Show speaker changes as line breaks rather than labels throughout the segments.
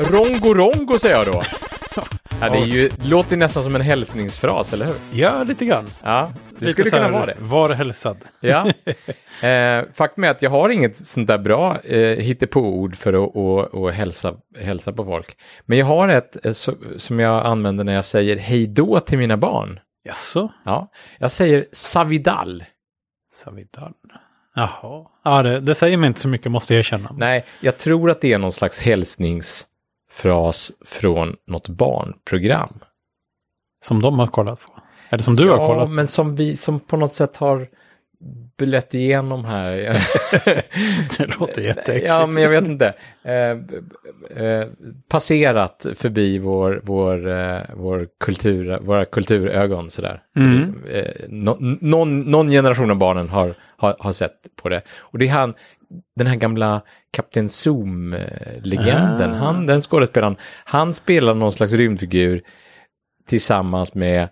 Rongo Rongo säger jag då. Ja, det är ju, låter nästan som en hälsningsfras, eller hur?
Ja, lite grann.
Ja, det
Lite
skulle
så här,
kunna vara det.
Var hälsad.
Ja. Eh, faktum är att jag har inget sånt där bra eh, hittepåord för att och, och hälsa, hälsa på folk. Men jag har ett eh, so, som jag använder när jag säger hej då till mina barn.
Jaså?
Ja. Jag säger savidal.
Savidal. Jaha. Ja, det, det säger mig inte så mycket måste jag erkänna.
Nej, jag tror att det är någon slags hälsningsfras från något barnprogram.
Som de har kollat på. Eller som du har
Ja,
kollat.
men som vi som på något sätt har blött igenom här.
Det låter jätteäckligt.
Ja, men jag vet inte. Eh, b- b- eh, passerat förbi vår, vår, eh, vår kultur, våra kulturögon sådär.
Mm.
Eh, nå- någon, någon generation av barnen har, har, har sett på det. Och det är han, den här gamla Kapten Zoom-legenden,
Ah.
han, den skådespelaren, han spelar någon slags rymdfigur tillsammans med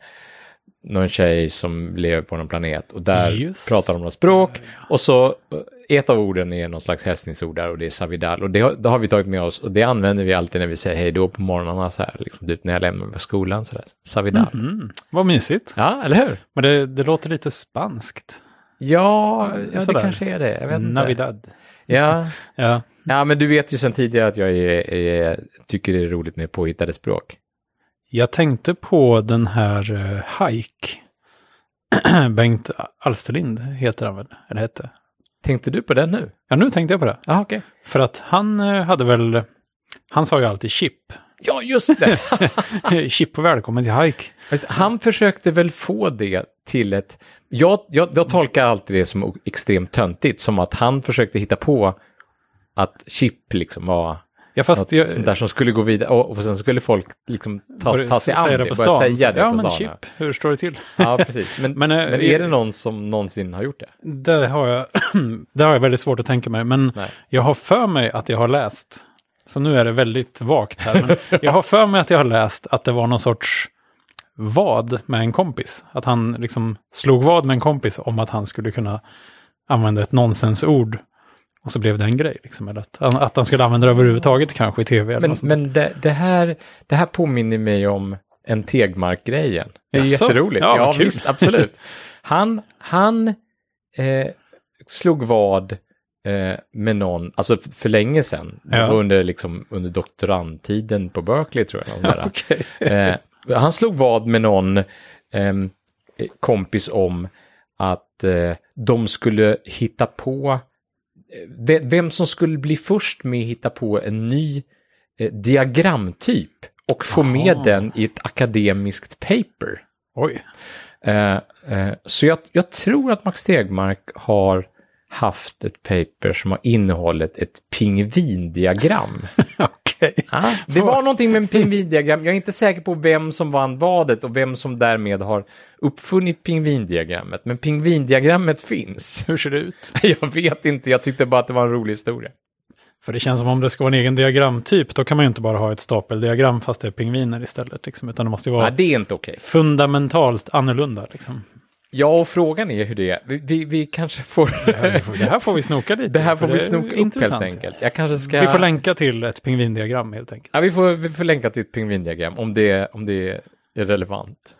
någon tjej som lever på någon planet och där
Just
pratar de något språk och så eh, ett av orden är någon slags hälsningsord där och det är savidal och det har, det har vi tagit med oss och det använder vi alltid när vi säger hej då på morgnarna så här, liksom, typ när jag lämnar skolan så där, savidal.
Mm. Vad mysigt.
Ja, eller hur?
Men det, det låter lite spanskt.
Ja, ja det
Sådär.
kanske är det. Jag vet inte.
Navidad.
Ja.
Ja.
ja, men du vet ju sedan tidigare att jag är, är, tycker det är roligt med påhittade språk.
Jag tänkte på den här uh, Hike. Bengt Alsterlind heter han väl? Eller hette?
Tänkte du på den nu?
Ja, nu tänkte jag på det.
Ja, okej.
För att han eh, hade väl... Han sa ju alltid chip.
Ja, just det.
chip och välkommen till Hike.
Just, Han försökte väl få det till ett... Jag, jag, jag tolkar alltid det som o- extremt töntigt, som att han försökte hitta på att chip liksom var
Ja, fast
något
jag,
sånt där som skulle gå vidare och, och sen skulle folk liksom ta,
började
ta sig
säga
an det,
på
och börja säga det
ja,
på
men
stan.
chip, hur står det till?
Ja, precis. Men, men,
Men, eh,
är det någon som någonsin har gjort det?
Det har jag, det har jag väldigt svårt att tänka mig, men
Nej.
jag har för mig att jag har läst, så nu är det väldigt vagt här, men jag har för mig att jag har läst att det var någon sorts vad med en kompis. Att han liksom slog vad med en kompis om att han skulle kunna använda ett nonsensord. Och så blev det en grej, liksom, eller att, att han skulle använda det överhuvudtaget kanske i tv. Eller
Men,
något sånt.
men det, det, här, det här påminner mig om en Tegmark-grejen. Det är
Jaså?
jätteroligt.
Ja,
Ja,
vad kul.
visst, absolut. Han, han eh, slog vad eh, med någon, alltså f- för länge sedan, Det
Ja.
var under, liksom, under doktorandtiden på Berkeley tror jag. något sånt
Okej.
där. eh, han slog vad med någon ehm, eh, kompis om att eh, de skulle hitta på eh, ve- vem som skulle bli först med att hitta på en ny eh, diagramtyp och få med
Ah.
den i ett akademiskt paper.
Oj,
Eh, eh, så jag, jag tror att Max Tegmark har haft ett paper som har innehållit ett pingvindiagram.
okej.
Ah, det var någonting med en pingvindiagram. Jag är inte säker på vem som vann vadet och vem som därmed har uppfunnit pingvindiagrammet. Men pingvindiagrammet finns.
Hur ser det ut?
Jag vet inte, jag tyckte bara att det var en rolig historia.
För det känns som om det ska vara en egen diagramtyp, då kan man ju inte bara ha ett stapeldiagram fast det är pingviner istället. Liksom, utan det måste ju vara
Nej, det är inte okej.
fundamentalt annorlunda. Liksom.
Ja, och frågan är hur det är. Vi, vi, vi kanske får...
Det får- det här får vi snoka lite.
Det här
för
får vi
är
snoka upp
intressant.
helt enkelt. Jag kanske ska...
Vi får länka till ett pingvindiagram helt enkelt.
ja, vi, får, vi får länka till ett pingvindiagram om det, om det är relevant.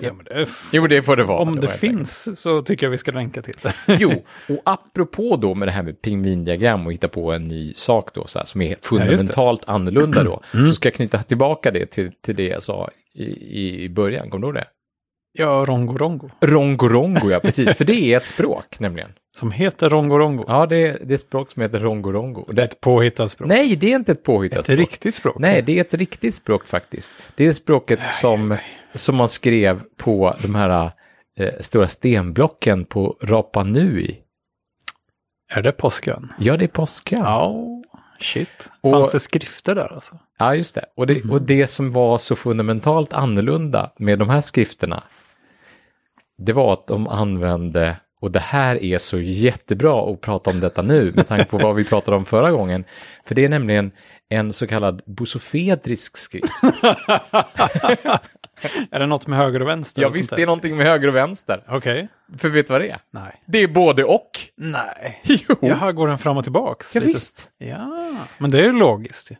Ja, men det är f-
Jo, det får det vara.
om
då,
det
helt
finns så tycker jag vi ska länka till det.
Jo, och apropå då med det här med pingvindiagram och hitta på en ny sak då, så här, som är fundamentalt annorlunda då, så ska jag knyta tillbaka det till, till det jag sa i, i- i början, kommer du ihåg det?
Ja, Rongo Rongo.
Rongorongo, ja precis, för det är ett språk nämligen.
Som heter Rongo Rongo.
Ja, det är, det är ett språk som heter rongorongo. Och
Det är
Det,
ett påhittat språk.
nej, det är inte ett påhittat
ett
språk.
riktigt språk.
Nej, det är ett riktigt språk faktiskt. Det är språket som, som man skrev på de här eh, stora stenblocken på Rapa Nui.
Är det påskön?
Ja, det är påsken.
Ja, shit.
Och-
Fanns det skrifter där alltså?
Ja, just det. Och, det och det som var så fundamentalt annorlunda med de här skrifterna, det var att de använde, och det här är så jättebra att prata om detta nu, med tanke på vad vi pratade om förra gången, för det är nämligen en så kallad busofedrisk skrift.
Är det något med höger och vänster?
Ja,
och sånt
visst,
där?
det är någonting med höger och vänster.
Okej.
För vet du vad det är?
Nej.
Det är både och.
Nej.
Jo.
Jaha, går den fram och tillbaks?
Ja,
Lite-
visst.
Ja, men det är ju logiskt. ju.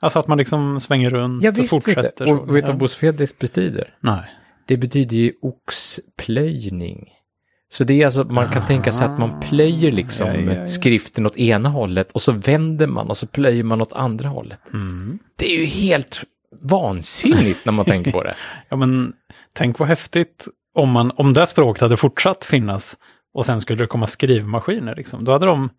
Alltså att man liksom svänger runt
Jag
och
visste inte.
fortsätter. så.
Och vet du
Ja.
vad bosfedis betyder?
Nej.
Det betyder ju oxplöjning. Så det är alltså, man kan tänka sig att man plöjer liksom
Ja, ja, ja.
skriften åt ena hållet och så vänder man och så plöjer man åt andra hållet.
Mm.
Det är ju helt vansinnigt när man tänker på det.
Ja, men tänk vad häftigt om, man, om det språket hade fortsatt finnas och sen skulle det komma skrivmaskiner. Liksom. Då hade de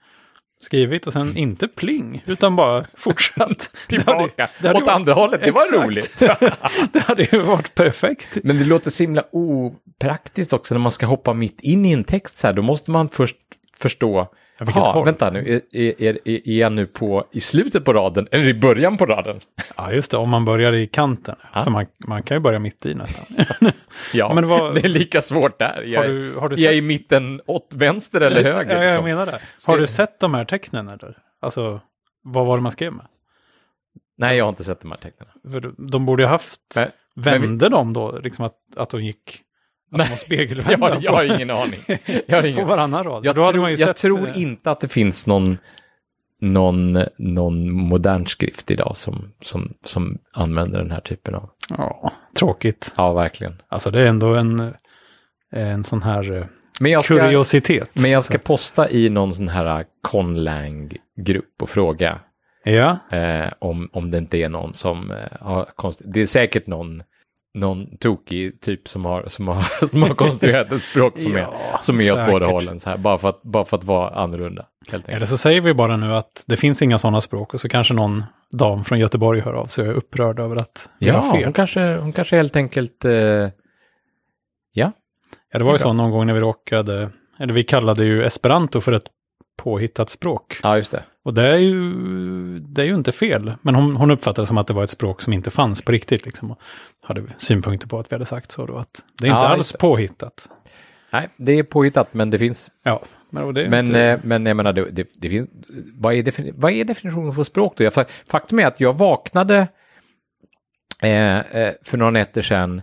skrivit och sen inte pling, utan bara fortsatt. Det hade ju-
Tillbaka,
det hade
åt
ju-
andra hållet, det var roligt.
Exakt. det hade ju varit perfekt.
Men det låter så himla opraktiskt också när man ska hoppa mitt in i en text så här. Då måste man först förstå.
Ja, vilket
"Jaha,
håll."
vänta nu, är, är, är, är jag nu på, i slutet på raden eller i början på raden?
Ja, just det, om man börjar i kanten.
Ja.
För man, man kan ju börja mitt i nästan.
Ja,
Men vad-
det är lika svårt där. Jag,
Har du, har du
är jag
sett-
i mitten åt vänster eller höger?
Ja, jag
liksom?
menar det.
Ska
Har
jag-
du sett de här tecknen eller? Alltså, vad var det man skrev med?
Nej, jag har inte sett de här tecknen.
För de borde ju haft,
Men- men vi-
vände de då, liksom att, att de gick,
Nej,
att de var
Jag
spegelvända
har, jag har ingen aning. Jag, har
på, på
ingen...
varannan rad?
jag,
Då hade
tror,
man ju
jag
sett,
tror
eh,
inte att det finns någon, någon, någon modern skrift idag som, som, som använder den här typen av...
Ja, tråkigt.
Ja, verkligen.
Alltså det är ändå en, en sån här eh,
Men jag ska,
kuriositet.
men jag ska posta i någon sån här äh, conlang-grupp och fråga
Ja,
eh, om, om det inte är någon som eh, har konst... Det är säkert någon, någon tokig typ som har, som har, som har konstruerat ett språk som är,
Ja,
som är åt
säkert.
båda hållen så här, bara för att, bara för att vara annorlunda. Helt enkelt.
eller så säger vi bara nu att det finns inga sådana språk och så kanske någon dam från Göteborg hör av sig och är upprörd över att vi har
Ja,
fel.
hon kanske, hon kanske helt enkelt... Eh, ja,
Ja,
Det
det var ju
är bra.
så någon gång när vi råkade, eller vi kallade ju esperanto för ett påhittat språk.
ja, just det.
Och det är ju, det är ju inte fel, men hon, hon uppfattade det som att det var ett språk som inte fanns på riktigt. Liksom, och hade synpunkter på att vi hade sagt så då, att det är
Ja,
inte
just
alls
det.
påhittat.
Nej, det är påhittat, men det finns.
Ja, men, och det är
Men,
inte,
eh, men jag menar, det, det, det finns, vad, är defini- vad är definitionen för språk då? Jag, fa- faktum är att jag vaknade eh, eh, för några nätter sedan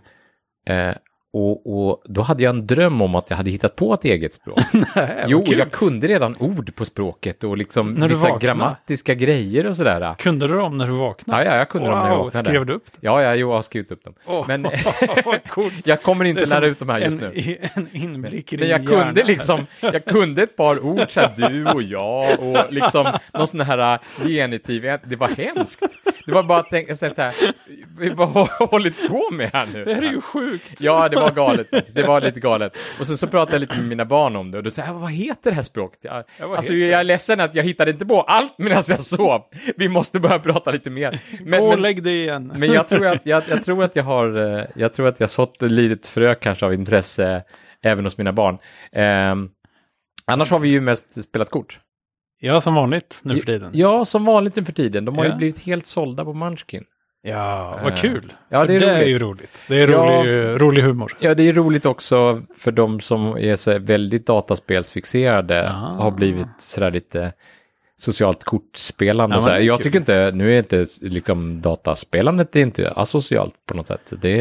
eh, och, och då hade jag en dröm om att jag hade hittat på ett eget språk.
Nej, vad
jo,
kul.
jag kunde redan ord på språket och liksom
När du
vissa
vaknade?
grammatiska grejer och sådär.
Kunde du dem när du vaknade?
Ja, ja, jag kunde
wow,
dem när jag vaknade.
Skrev du upp det?
Ja, ja, jo, jag har skrivit upp dem.
Åh,
Men- eh,
vad coolt.
Jag kommer
Det
inte
är
lära
som
ut de här just
en,
nu.
i- En inblick i
Men
din
jag kunde
hjärna.
liksom, jag kunde ett par ord, så här, du och jag och liksom någon sån här äh, genitiv, det var hemskt. Det var bara att tänka så här, så här, vad har jag hållit på med här nu?
Det här är ju sjukt.
Ja, det var galet. Det var lite galet. Och sen så pratade jag lite med mina barn om det och då sa jag, vad heter det här språket? Jag,
Ja, vad
alltså,
heter
jag är ledsen att jag hittade inte på allt medan jag sov. Vi måste börja prata lite mer. Men,
Gå och
men,
lägg dig igen.
men jag tror att jag, jag tror att jag har, eh, jag tror att jag sått ett litet frö kanske av intresse även hos mina barn. Ehm, annars har vi ju mest spelat kort.
Ja, som vanligt nu för tiden.
Ja, som vanligt nu för tiden. De har ju
Ja.
blivit helt sålda på Munchkin.
Ja, vad
Eh,
kul.
ja,
För
det är roligt.
ju roligt. Det är
Ja.
rolig, eh, rolig humor.
Ja, det är roligt också för de som är så här väldigt dataspelsfixerade.
Ah.
så Har blivit sådär lite socialt kortspelande.
Ja,
och
men
sådär.
det är
Jag
kul.
tycker inte, nu är inte liksom dataspelandet det är inte asocialt på något sätt. Det,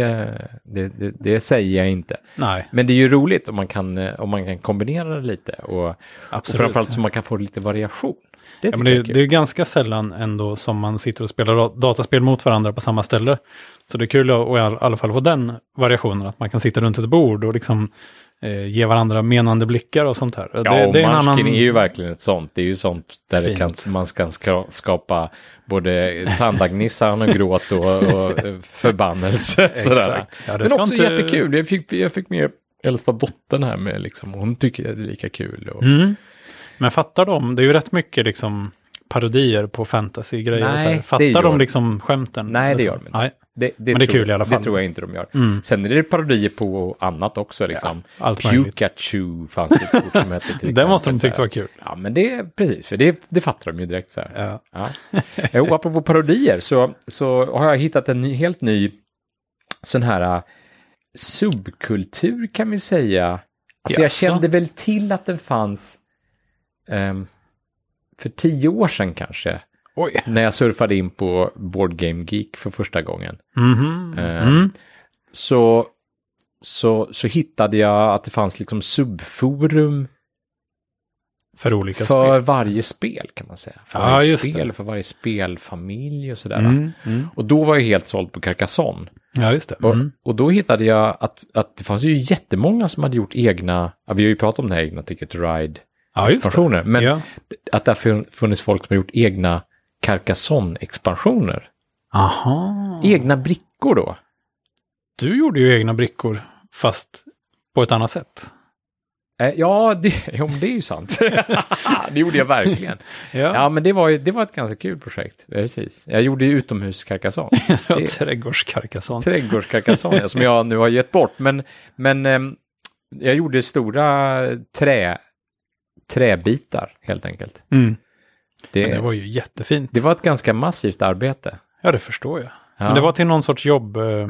det, det, det säger jag inte.
Nej,
Men det är ju roligt om man kan, eh, om man kan kombinera det lite och, och
absolut.
framförallt så man kan få lite variation. Det
ja,
tycker
men det,
jag är
är- det
kul.
är ganska sällan ändå som man sitter och spelar dat- dataspel mot varandra på samma ställe. Så det är kul att och i all, alla fall få den variationen, att man kan sitta runt ett bord och liksom eh, ge varandra menande blickar och sånt här.
Ja, och Munchkin är ju verkligen ett sånt. Det är ju sånt där det kan,
Fint.
man kan ska skapa både tandagnissan och gråt och, och eh, förbannelse. Sådär.
Exakt. Ja, det
Men
ska
också
inte-
jättekul. Jag fick, jag fick med äldsta dottern här med liksom, hon tycker det är lika kul. Och...
Mm. Men fattar de, det är ju rätt mycket liksom parodier på fantasy-grejer och så
Nej,
här.
det
Fattar
gör-
de liksom skämten?
Nej, det
Eller så?
gör de inte.
Nej,
Det, det,
Men det är
tror
kul i alla fall.
Det tror jag inte de gör. Sen är det parodier på annat också. Liksom.
Ja, Mm. allt möjligt.
Pikachu fanns det ett kort som hette. till
det måste
exempel,
de
så här.
tyckt var kul.
Ja, men det, precis, för det, det fattar de ju direkt så här.
Ja.
Ja. Jo, apropå parodier så, så har jag hittat en ny, helt ny sån här äh, subkultur kan vi säga. Alltså jag
Jaså?
kände väl till att den fanns ehm, för tio år sedan kanske.
Oj.
När jag surfade in på Board Game Geek för första gången.
Mhm.
Eh,
Mm.
Så, så, så hittade jag att det fanns liksom subforum
För olika
För
spel.
varje spel kan man säga. För
Ja,
varje
just det.
spel, för varje spelfamilj och sådär.
Mm, mm.
Och då var jag helt såld på Carcassonne.
Ja, just det.
Och,
Mm.
och då hittade jag att, att det fanns ju jättemånga som hade gjort egna, ja, vi har ju pratat om det här egna Ticket to Ride-expansioner,
Ja, just det.
men
Ja.
att det har fun- funnits folk som har gjort egna Carcassonne-expansioner.
Aha.
Egna brickor då.
Du gjorde ju egna brickor, fast på ett annat sätt.
Eh, Ja, det, jo, men det är ju sant. det gjorde jag verkligen.
Ja,
Ja, men det var, ju, det var ett ganska kul projekt. Ja, Precis. Jag gjorde ju utomhuskarkasson.
ja
det-
trädgårdskarkasson.
Trädgårdskarkasson, ja, som jag nu har gett bort. Men, men ehm, jag gjorde stora trä, träbitar, helt enkelt.
Mm.
Det,
Men det
det, var...
var ju jättefint.
ett ganska massivt arbete.
Ja, det förstår jag.
Ja.
Men det var till någon sorts jobb eh,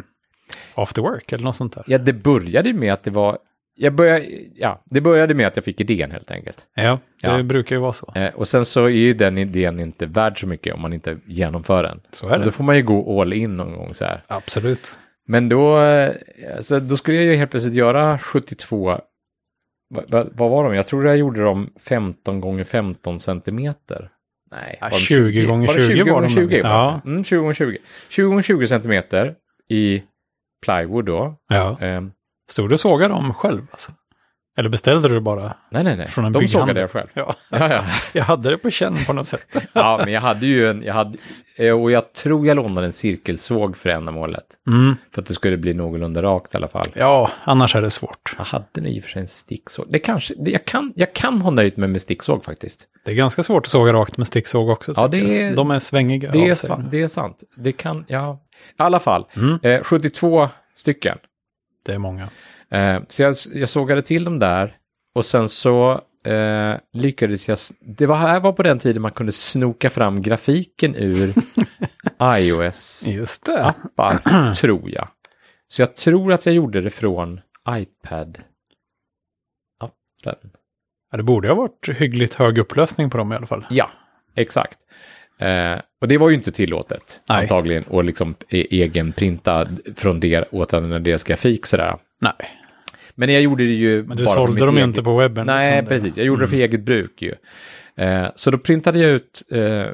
after work eller något sånt där.
ja, det började ju med att det var... Jag började, ja, det började med att jag fick idén, helt enkelt.
Ja, det
Ja.
brukar ju vara så.
Eh, och sen så är ju den idén inte värd så mycket om man inte genomför den.
Så är
Och då
det.
får man ju gå all in någon gång så här.
Absolut.
Men då, eh, alltså, då skulle jag ju helt plötsligt göra 72, va, va, vad var de? Jag tror jag gjorde dem 15 gånger 15 centimeter. Nej,
Ja,
var de
20 gånger
Var det
20 var de
20
nog. Ja.
Ja. Mm, 20 gånger 20. 20 gånger 20 centimeter i plywood då.
Ja.
Ehm,
Stod du och sågade dem själv alltså? Eller beställde du det bara?
nej, nej, nej.
Från en
de sågade
bygghandel.
jag själv.
Ja,
Ja, ja.
jag hade det på känn på något sätt.
ja, men jag hade ju en, jag hade, eh, och jag tror jag lånade en cirkelsåg för ändamålet.
Mm.
För att det skulle bli någorlunda rakt i alla fall.
Ja, annars är det svårt.
Jag hade nog i och för sig en sticksåg. Det kanske, det, jag, kan, jag kan ha nöjt mig med sticksåg faktiskt.
Det är ganska svårt att såga rakt med sticksåg också.
Ja,
tycker
det
jag.
är-
De är svängiga
Det är,
av sig.
sant, det är sant. Det kan, ja. I alla fall,
Mm.
eh, 72 stycken.
Det är många.
Eh, så jag, jag sågade till dem där och sen så eh, lyckades jag... s- Det var, här var på den tiden man kunde snoka fram grafiken ur iOS-appar,
Just det.
tror jag. Så jag tror att jag gjorde det från iPad-appen.
Ja, det borde ha varit hyggligt hög upplösning på dem i alla fall.
Ja, exakt. Eh, och det var ju inte tillåtet
Nej.
antagligen att liksom e- egenprinta från det åt en- deras grafik sådär.
Nej,
Men jag gjorde det ju
men du
bara för
sålde
mitt
dem ju
eget-
inte på webben.
Nej,
liksom. Det-
precis. Jag gjorde det för eget bruk ju. Eh, så då printade jag ut eh,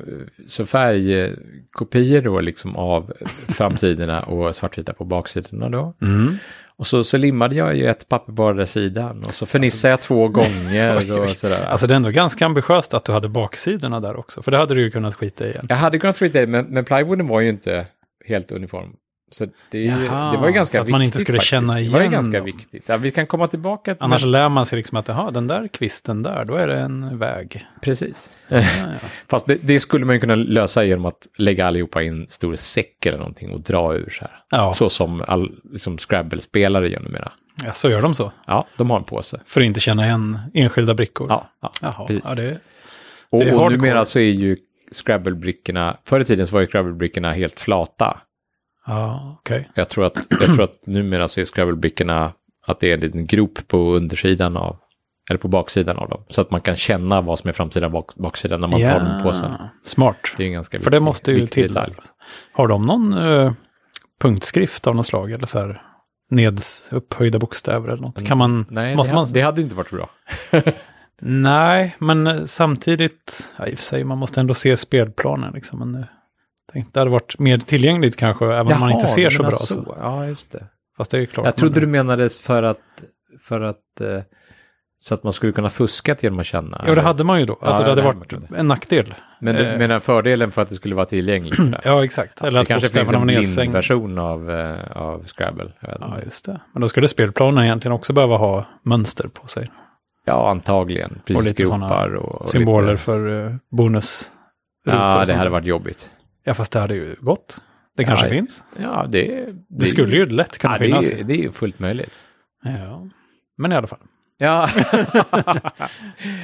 så färgkopior då liksom av framsidorna och svartvita på baksidorna då.
Mm.
Och så, så limmade jag ju ett papper på vardera sidan och så förnissade jag två gånger och sådär.
Alltså det är ändå ganska ambitiöst att du hade baksidorna där också, för det hade du ju kunnat skita i. igen.
Jag hade kunnat flytta det, men, men plywooden var ju inte helt uniform. Så det, är ju-
Jaha,
det var ju ganska
så att man inte
viktigt
skulle
faktiskt.
känna
Det var ju
igen
ganska
dem.
viktigt. Ja, vi kan komma tillbaka till
Annars
men,
lär man sig liksom att jaha, den där kvisten där, då är det en väg.
Precis.
Ja, ja.
Fast det, det skulle man ju kunna lösa genom att lägga allihopa i en stor säck eller någonting och dra ur så här.
ja. Så.
Så som all, liksom Scrabble-spelare gör numera.
ja, så gör de så.
Ja, de har en påse.
För att inte känna igen enskilda brickor.
Ja, ja.
Jaha,
precis.
ja, det,
Och,
Det är
och
hardcore.
numera så är ju Scrabble-brickorna, förr i tiden så var ju Scrabble-brickorna helt flata.
ja okej.
Jag tror att, jag tror att numera så är Scrabble-brickorna att det är en liten grop på undersidan av, eller på baksidan av dem. Så att man kan känna vad som är framsidan och bak, baksidan när man tar dem på påsen.
Smart.
Det är en ganska
För
viktig,
det måste ju
viktig
till.
detalj.
Har de någon eh, punktskrift av något slag eller så här neds, upphöjda bokstäver eller något? Kan man,
Nej,
måste
det,
man,
ha- det hade ju inte varit bra.
nej, men eh, samtidigt, ja, i och för sig, man måste ändå se spelplanen liksom. Men, eh, tänk, det hade varit mer tillgängligt kanske, även om man inte ser så bra. Så.
Ja, just det.
Fast det är ju klart.
alltså- Jag trodde
men,
du menade för att, för att, eh, så att man skulle kunna fuska genom att känna.
Jo, det hade man ju då. Alltså,
Ja,
det hade
det hade
varit
man kunnat.
en nackdel.
Men du
eh,
menar fördelen för att det skulle vara tillgängligt? sådär?
Ja, exakt. Eller
det
att
kanske finns
bokstäverna var
en blind
nedsänkta.
version av, eh, av Scrabble. Jag vet
Ja,
inte.
just det. Men då skulle spelplanen egentligen också behöva ha mönster på sig.
Ja, antagligen. Precis,
lite
gropar
såna
och, och
Symboler
Lite,
för eh, bonus.
ja, det hade varit jobbigt.
Ja, fast det hade ju gått. Det kanske
Ja,
finns.
Ja, det... Det,
Det, skulle ju lätt kunna
ja, det,
finnas.
är, ju- det är ju fullt möjligt.
Ja. Men i alla fall.
Ja,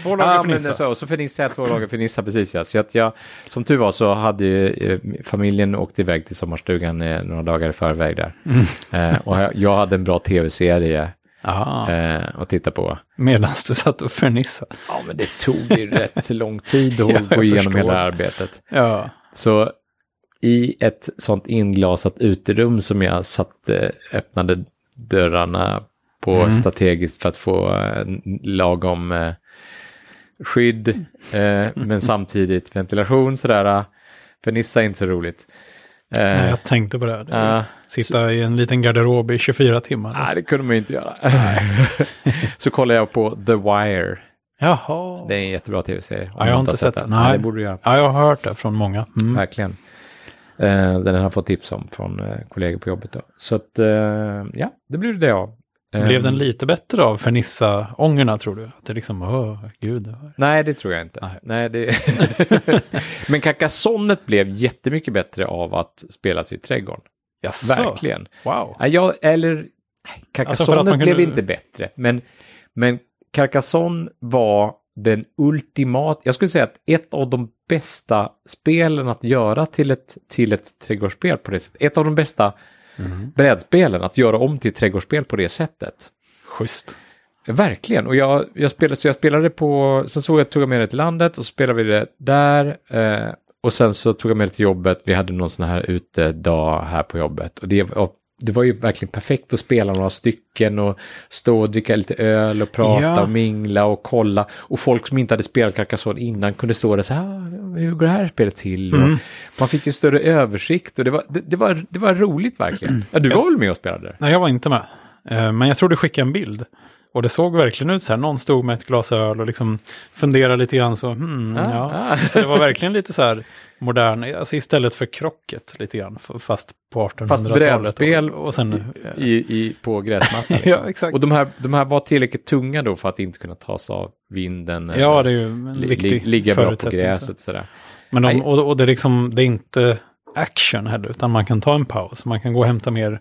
Två lager
ja
för
men
Nissa.
det så, och så förnissade jag två dagar förnissa precis ja. Så att jag, som tur var så hade ju, eh, familjen åkt iväg till sommarstugan eh, några dagar i förväg där. Eh, och jag, jag hade en bra tv-serie
Ja,
eh, att titta på.
medan du satt och förnissade.
Ja, men det tog ju rätt så lång tid att
jag
gå igenom
förstår.
hela det här arbetet.
Ja.
Så i ett sånt inglasat uterum som jag satt, eh, öppnade
Mm.
dörrarna på strategiskt för att få eh, n- lagom eh, skydd, eh, men samtidigt ventilation sådär. eh, För Nissa är inte så roligt. Eh,
Nej, jag tänkte på det. Här. det är-
ja.
Sitta i en liten garderob i 24 timmar.
Nej, det kunde man ju inte göra. så kollar jag på The Wire.
Jaha.
Det är en jättebra tv-serie. om
jag har
du
inte sett den.
Nej.
Nej.
det borde du göra.
Ja, jag har hört det från många. Mm.
Verkligen. Eh, den har jag fått tips om från eh, kollegor på jobbet. Då. Så att, eh, ja, det blir det av. Eh,
Blev den lite bättre av Fernissa-ångorna tror du? Att det liksom, åh, gud.
Nej, det tror jag inte. Nej,
Nej.
det... Men kakasonnet blev jättemycket bättre av att spelas i trädgården.
Jaså?
Verkligen.
Wow.
Nej, Jag, eller,
Alltså för
Carcassonne
att man kunde-
blev inte bättre, men, men Carcassonne var den ultimata, jag skulle säga att ett av de bästa spelen att göra till ett, till ett trädgårdsspel på det sättet. Ett av de bästa brädspelen att göra om till trädgårdsspel på det sättet.
Schysst.
Verkligen, och jag, jag, spelade, så jag spelade på, sen såg jag, tog jag med det till landet och så spelade vi det där. Eh, och sen så tog jag med det till jobbet, vi hade någon sån här utedag här på jobbet. Och det, och det var ju verkligen perfekt att spela några stycken och stå och dricka lite öl och prata
Ja.
och mingla och kolla. Och folk som inte hade spelat Carcassonne innan kunde stå där så här, "Ah, hur går det här spelet till? Och man fick ju större översikt och det var, det, det var, det var roligt verkligen. Ja, du var väl med och spelade? det?
Nej, jag var inte med. Eh, Men jag tror du skickade en bild. Och det såg verkligen ut så här, någon stod med ett glas öl och liksom funderade lite grann så, hmm,
Ah,
ja.
ah.
Så det var verkligen lite så här modern, alltså istället för krocket lite grann, f- fast på 1800-talet.
brädspel
och, och sen...
i, i, på gräsmattan. Liksom.
Eh. Ja, exakt.
Och de här, de här var tillräckligt tunga då för att inte kunna tas av vinden.
Ja,
eller
det är ju en
li-
viktig
li- Ligga bra på
förutsättning, så.
gräset sådär.
Men de,
Nej.
och, och det, är liksom, det är inte action heller, utan man kan ta en paus. Man kan gå och hämta mer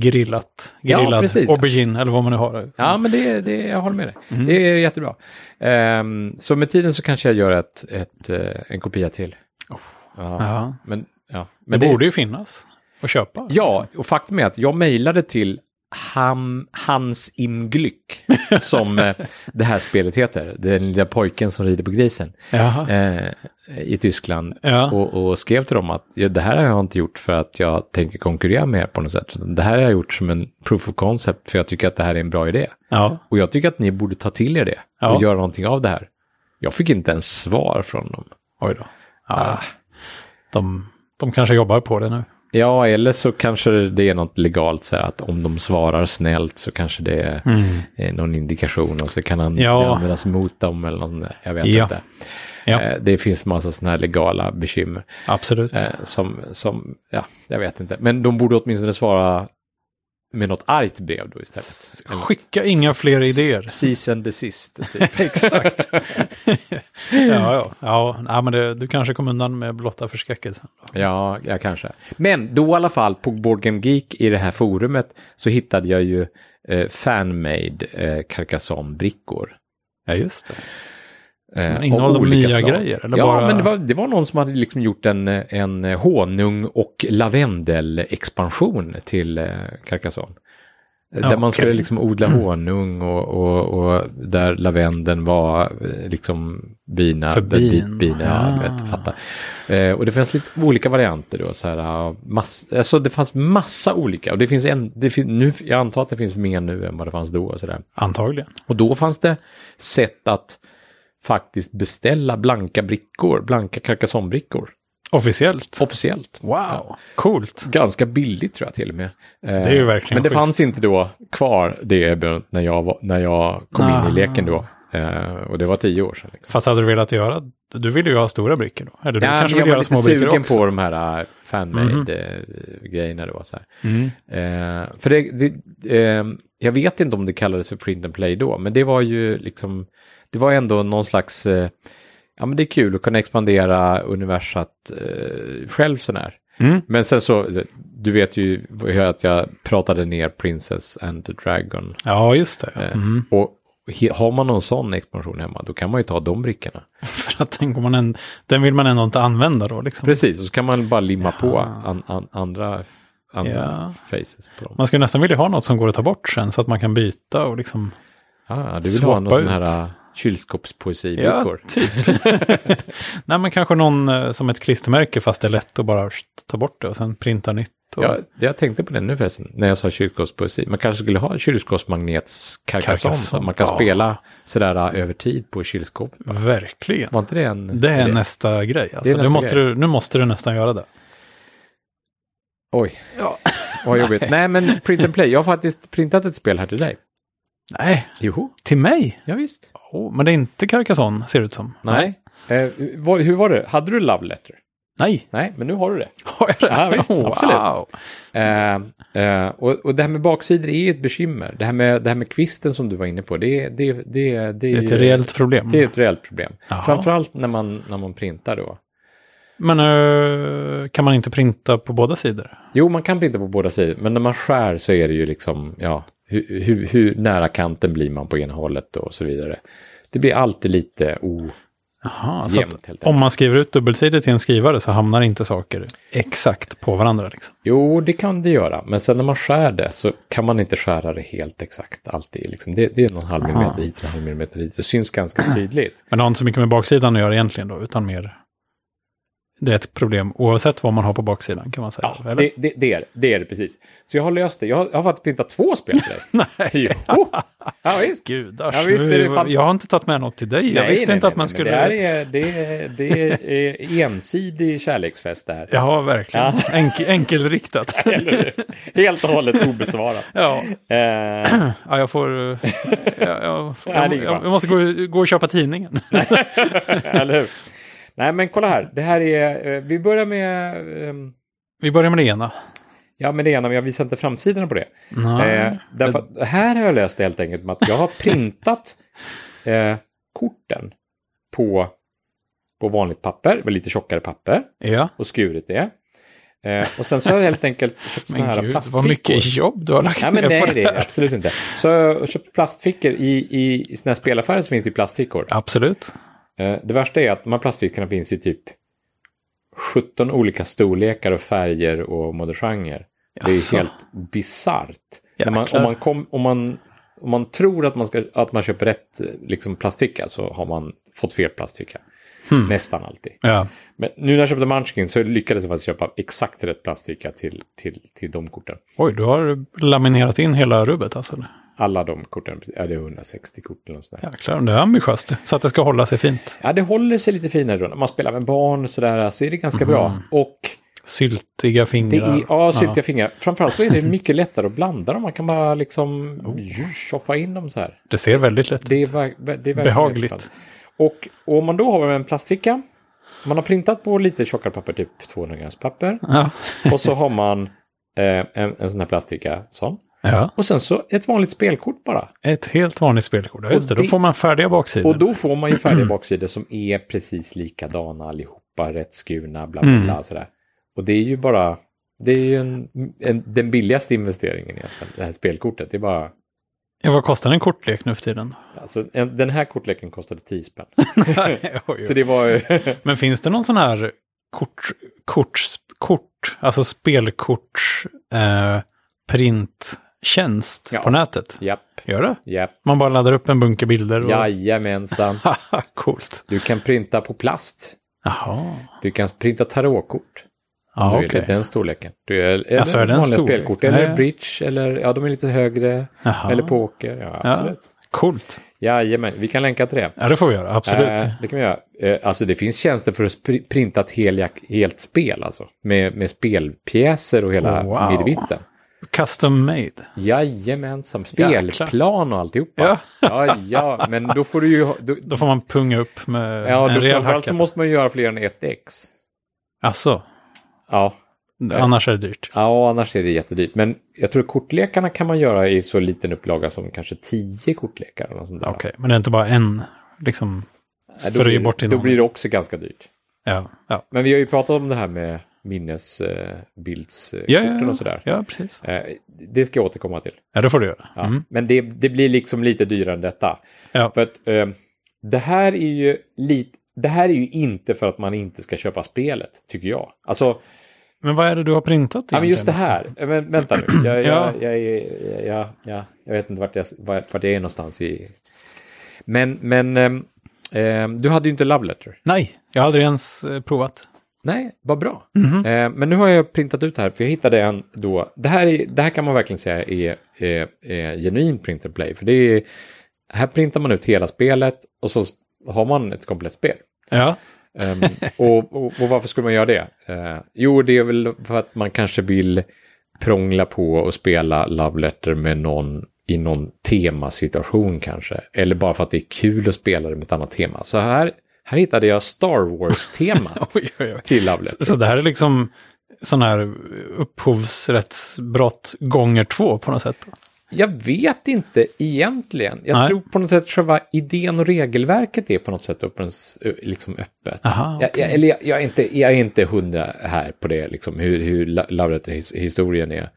grillat,
Ja,
grillad
precis, ja.
aubergine eller vad man nu har.
Ja, men det, det, jag håller med dig.
Mhm.
Det är jättebra. Ehm, så med tiden så kanske jag gör ett, ett, eh, en kopia till. Ja,
Oh. Ja.
Men, ja.
Det,
men det-
borde ju finnas att köpa.
Ja, och faktum är att jag mejlade till Ham, Hans Im Glück, som eh, det här spelet heter, den lilla pojken som rider på grisen,
Jaha.
eh, i Tyskland.
Ja.
och, och skrev till dem att ja, det här har jag inte gjort för att jag tänker konkurrera med er på något sätt. utan Det här har jag gjort som en proof of concept för jag tycker att det här är en bra idé.
ja.
Och jag tycker att ni borde ta till er det och
Ja.
göra någonting av det här. Jag fick inte ens svar från dem.
Oj då. Ja. De, de kanske jobbar på det nu.
Ja, eller så kanske det är något legalt så här att om de svarar snällt så kanske det är eh, någon indikation och så kan han
Mm. Ja.
det användas mot dem eller något sånt där. Jag vet
Ja.
inte.
Ja.
Eh, Det finns massa sådana här legala bekymmer.
Absolut.
Eh, som, som, ja, jag vet inte. Men de borde åtminstone svara med något argt brev då istället.
S- Skicka inga fler idéer.
Cease and desist. Typ.
Exakt. ja, ja. ja nej, men det, du kanske kom undan med blotta förskräckelsen.
ja, ja, kanske. Men då i alla fall på Board Game Geek i det här forumet så hittade jag ju eh, fanmade eh, Carcassonne-brickor.
Ja, just det.
Eh,
innehåller
av
de
olika
nya grejer, eller
ja,
bara-
men det var, det var någon som hade liksom gjort en, eh, en honung och lavendelexpansion till eh, Carcassonne. Eh,
Ja,
där man skulle
okej. Mm.
liksom odla honung och, och, och där lavendeln var eh, liksom bina.
För
där
bin.
dit bina, ja. du
Ah.
vet, fattar. Eh, och det fanns lite olika varianter då. Så här, ja, mass, alltså det fanns massa olika. Och det finns en, det fin, nu, jag antar att det finns mer nu än vad det fanns då. Och så där.
Antagligen.
Och då fanns det sätt att faktiskt beställa blanka brickor, blanka Carcassonne-brickor,
Officiellt.
officiellt.
Wow, coolt.
Ganska billigt tror jag till och med. Det
är ju verkligen
Eh, Men det
schysst.
fanns inte då kvar det erbjudandet när jag, var, när jag kom in
Ah.
i leken då. Eh, Och det var tio år sedan. Liksom.
Fast hade du velat göra, du ville ju ha stora brickor då? Eller du
Ja,
kanske
men
vill
jag
göra
var
små
lite
brickor
sugen
också? Mhm.
på de här eh, fanmade-grejerna då. Så här.
Mm.
Eh, för det, det, ehm, jag vet inte om det kallades för print and play då, men det var ju liksom, det var ändå någon slags, eh, ja men det är kul att kunna expandera universat eh, själv sån här.
Mm.
Men sen så, du vet ju hur att jag pratade ner Princess and the Dragon.
Ja, just det.
Eh,
Mm.
Och he- har man någon sån expansion hemma, då kan man ju ta de brickorna.
För att tänk om man en, den vill man ändå inte använda då liksom.
Precis, och så kan man bara limma på
Ja.
an, an, andra, andra
Ja.
faces på dem.
Man skulle nästan vilja ha något som går att ta bort sen så att man kan byta och liksom...
Ah, du vill
Swappa
ha någon sån
ut.
här kylskåpspoesibrukor.
typ. Nej, men kanske någon eh, som ett klistermärke fast det är lätt att bara ta bort det och sen printa nytt. Och...
Ja, jag tänkte på det nu förresten, när jag sa kylskåpspoesi. Man kanske skulle ha kylskåpsmagnetskarkasson så att man kan
Karkasson, ja.
spela sådär äh, över tid på kylskåp.
Verkligen.
Var inte det en...
Det är
idé?
nästa grej. Alltså.
nästa
nu, måste
grej.
Du, nu måste du nästan göra det.
Oj,
Ja.
vad jobbigt. Nej, men print and play. Jag har faktiskt printat ett spel här till dig.
Nej,
Jo,
till mig?
ja, visst.
Oh, men det är inte Carcassonne ser det ut som.
Nej. Eh, vad, hur var det? Hade du love letter?
Nej,
Nej, men nu har du det.
har jag det?
Ja, visst,
Wow.
absolut. Eh, eh, och, och det här med baksidor är ju ett bekymmer. Det här med, det här med kvisten som du var inne på, det, det, det, det,
Det är ett reellt problem.
Det är ett reellt problem.
Jaha.
Framförallt när man, när man printar då.
Men eh, kan man inte printa på båda sidor?
Jo, man kan printa på båda sidor, men när man skär så är det ju liksom, ja, hur, hur, hur nära kanten blir man på ena hållet och så vidare. Det blir alltid lite ojämnt
Jaha, så att
helt enkelt.
om man skriver ut dubbelsidor till en skrivare så hamnar inte saker exakt på varandra. Liksom.
Jo, det kan det göra, men sen när man skär det så kan man inte skära det helt exakt alltid. Liksom. Det, det är någon halv millimeter hit och en halv millimeter dit. Det syns ganska tydligt.
Men det har inte så mycket med baksidan att göra egentligen då, utan mer... Det är ett problem oavsett vad man har på baksidan kan man säga.
Ja, det, det, det, är, det. det är det precis. Så jag har löst det. Jag har, jag har faktiskt printat två spel till dig.
Nej,
Jo. Ja, visst.
gudars.
Ja, visst är det fan-
Jag har inte tagit med något till dig. jag
Nej,
visste
nej,
inte
nej,
att man
nej,
skulle...
Det här är, det är, det är eh, ensidig kärleksfest det här.
Ja, verkligen. Enk, enkelriktat.
Eller hur? Helt och hållet obesvarat.
ja.
Eh,
ja, jag får... eh, Jag, jag, får-
Ja, det är
jag,
ju bra.
jag, jag måste gå, gå och köpa tidningen.
eller hur? Nej, men kolla här. Det här är, eh, vi börjar med, ehm,
Vi börjar med det ena.
ja men det ena, men jag visar inte framsidan på det.
Nej.
Eh, därför att här har jag löst det helt enkelt med att jag har printat eh, korten på, på vanligt papper, med lite tjockare papper
Ja.
och skurit det. Eh, och sen så har jag helt enkelt köpt sådana här
Men gud, vad
plastfickor.
mycket jobb du har lagt
Nej,
ner
men nej,
på
det
det
är det
här.
absolut inte. Så jag har köpt plastfickor i, i, i såna här spelaffärer så finns det ju plastfickor.
Absolut.
Eh, Det värsta är att de här plastfickorna finns i typ 17 olika storlekar och färger och modergenrer. Det är
Jaså.
ju helt bisarrt. När man-
Jäklar.
Om, man kom- om, man- om man tror att man, ska, att man köper rätt eh, liksom, plastficka så har man fått fel plastficka.
Hmm.
Nästan alltid.
Ja.
Men nu när jag köpte Munchkin så lyckades jag faktiskt köpa exakt rätt plastficka till, till, till de korten.
Oj, du har laminerat in hela rubbet alltså.
Alla de korten, ja det är 160 kort eller något sånt där.
Jäklar, det är ambitiöst. Så att det ska hålla sig fint.
Ja, det håller sig lite finare då. När man spelar med barn och sådär så är det ganska
Mhm.
bra. Och
Syltiga
det
fingrar.
är, ja, syltiga fingrar. Framförallt så är det mycket lättare att blanda dem. Man kan bara liksom tjoffa in dem så här.
Det ser väldigt lätt
Det är,
ut.
ver- det är verkligen
Behagligt.
lätt. Och, och om man då har en plastficka. Man har printat på lite tjockare papper, typ 200 grams papper.
Ja.
Och så har man eh, en, en sån här plastficka. Sån.
ja,
Och sen så ett vanligt spelkort bara.
ett helt vanligt spelkort. Ja, Just det,
Och
då
det-
får man färdiga
Och
baksidor.
då får man ju färdiga baksidor som är precis likadana allihopa, rättskurna, bla bla bla. Sådär. Och det är ju bara, det är ju en, en, den billigaste investeringen egentligen, det här spelkortet. Det är bara,
Ja, vad kostar en kortlek nu för tiden?
alltså en, den här kortleken kostade 10 spänn.
Nej, oj,
Så
oj.
det var ju,
Men finns det någon sån här kort, kort, kort alltså spelkorts eh, printtjänst
Ja.
på nätet?
japp,
Gör det?
japp,
Man bara laddar upp en bunke bilder och...
jajamensan.
Haha, coolt.
Du kan printa på plast.
Jaha.
Du kan printa tarotkort.
Ja,
Du
okej.
är den storleken. Du är, eller
Alltså, är den
vanliga
storlek?
spelkort, eller
Ja.
bridge, eller ja, de är lite högre.
Jaha.
Eller poker, ja,
Ja,
absolut.
coolt.
Jajamän, vi kan länka till det.
Ja, det får vi göra. Absolut.
Eh, det kan vi göra. Eh, alltså det finns tjänster för att spri- printa ett helja- helt spel alltså. Med, med spelpjäser och hela
Wow.
midvitten.
Custom made.
Jajamensan, spelplan och alltihopa.
Ja.
ja, ja, men då får du ju... ha- Då,
Då får man punga upp med
ja,
en
då
rejäl
framförallt
hacka.
så måste man ju göra fler än ett ex.
Alltså,
Ja.
annars är det dyrt.
ja, annars är det jättedyrt. Men jag tror kortlekarna kan man göra i så liten upplaga som kanske tio kortlekar. Eller något sånt där.
Okej, men det är inte bara en, liksom,
Nej, då
för att
blir
ge
det-
bort till
Då
någon.
blir det också ganska dyrt.
Ja, ja.
Men vi har ju pratat om det här med minnesbildskorten
Ja, ja, ja.
och sådär.
ja, precis.
Eh, Det ska jag återkomma till.
Ja, det får du göra.
Ja.
Mm.
Men det, det blir liksom lite dyrare än detta.
Ja.
För att eh, det här är ju lite... Det här är ju inte för att man inte ska köpa spelet, tycker jag. Alltså,
Men vad är det du har printat
ja, men just det
egentligen?
här. eh, Men, vänta nu, jag,
Ja.
jag, jag, jag, jag, jag, jag vet inte vart jag, vart jag är någonstans i... Men, men ehm, ehm, du hade ju inte Love Letter.
Nej, jag har aldrig ens eh, provat.
Nej, vad bra. Eh, men nu har jag printat ut här, för jag hittade en då. Det här, är, det här kan man verkligen säga är, är, är genuin print and play. För det är, här printar man ut hela spelet och så har man ett komplett spel.
Ja,
Ehm, och, och, och varför skulle man göra det? Eh, jo, det är väl för att man kanske vill prångla på och spela Love Letter med någon i någon temasituation kanske. Eller bara för att det är kul att spela det med ett annat tema. Så här, här hittade jag Star Wars-temat
oj, oj, oj.
till Love Letter.
Så, så det här är liksom sån här upphovsrättsbrott gånger två på något sätt.
Jag vet inte egentligen. Jag
Nej.
tror på något sätt själva idén och regelverket är på något sätt öppens, ö, liksom öppet.
Aha,
jag, jag, eller jag, jag, är inte, jag är inte hundra här på det, liksom, hur, hur la- Lauretter-historien är.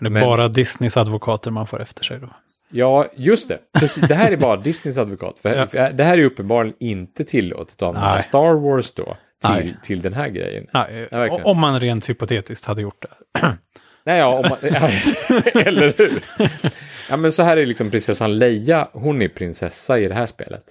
Det är
men-
bara Disneys advokater man får efter sig då.
Ja, just det. Precis, det här är bara Disneys advokat. För,
Ja.
för det här är uppenbarligen inte tillåtet av
Nej.
Star Wars då, till,
Nej.
till den här grejen.
Nej,
Ja, verkligen.
eh, o- om man rent hypotetiskt hade gjort det.
Nej, ja, om man, ja, eller hur? Ja, men så här är liksom prinsessan Leia, hon är prinsessa i det här spelet.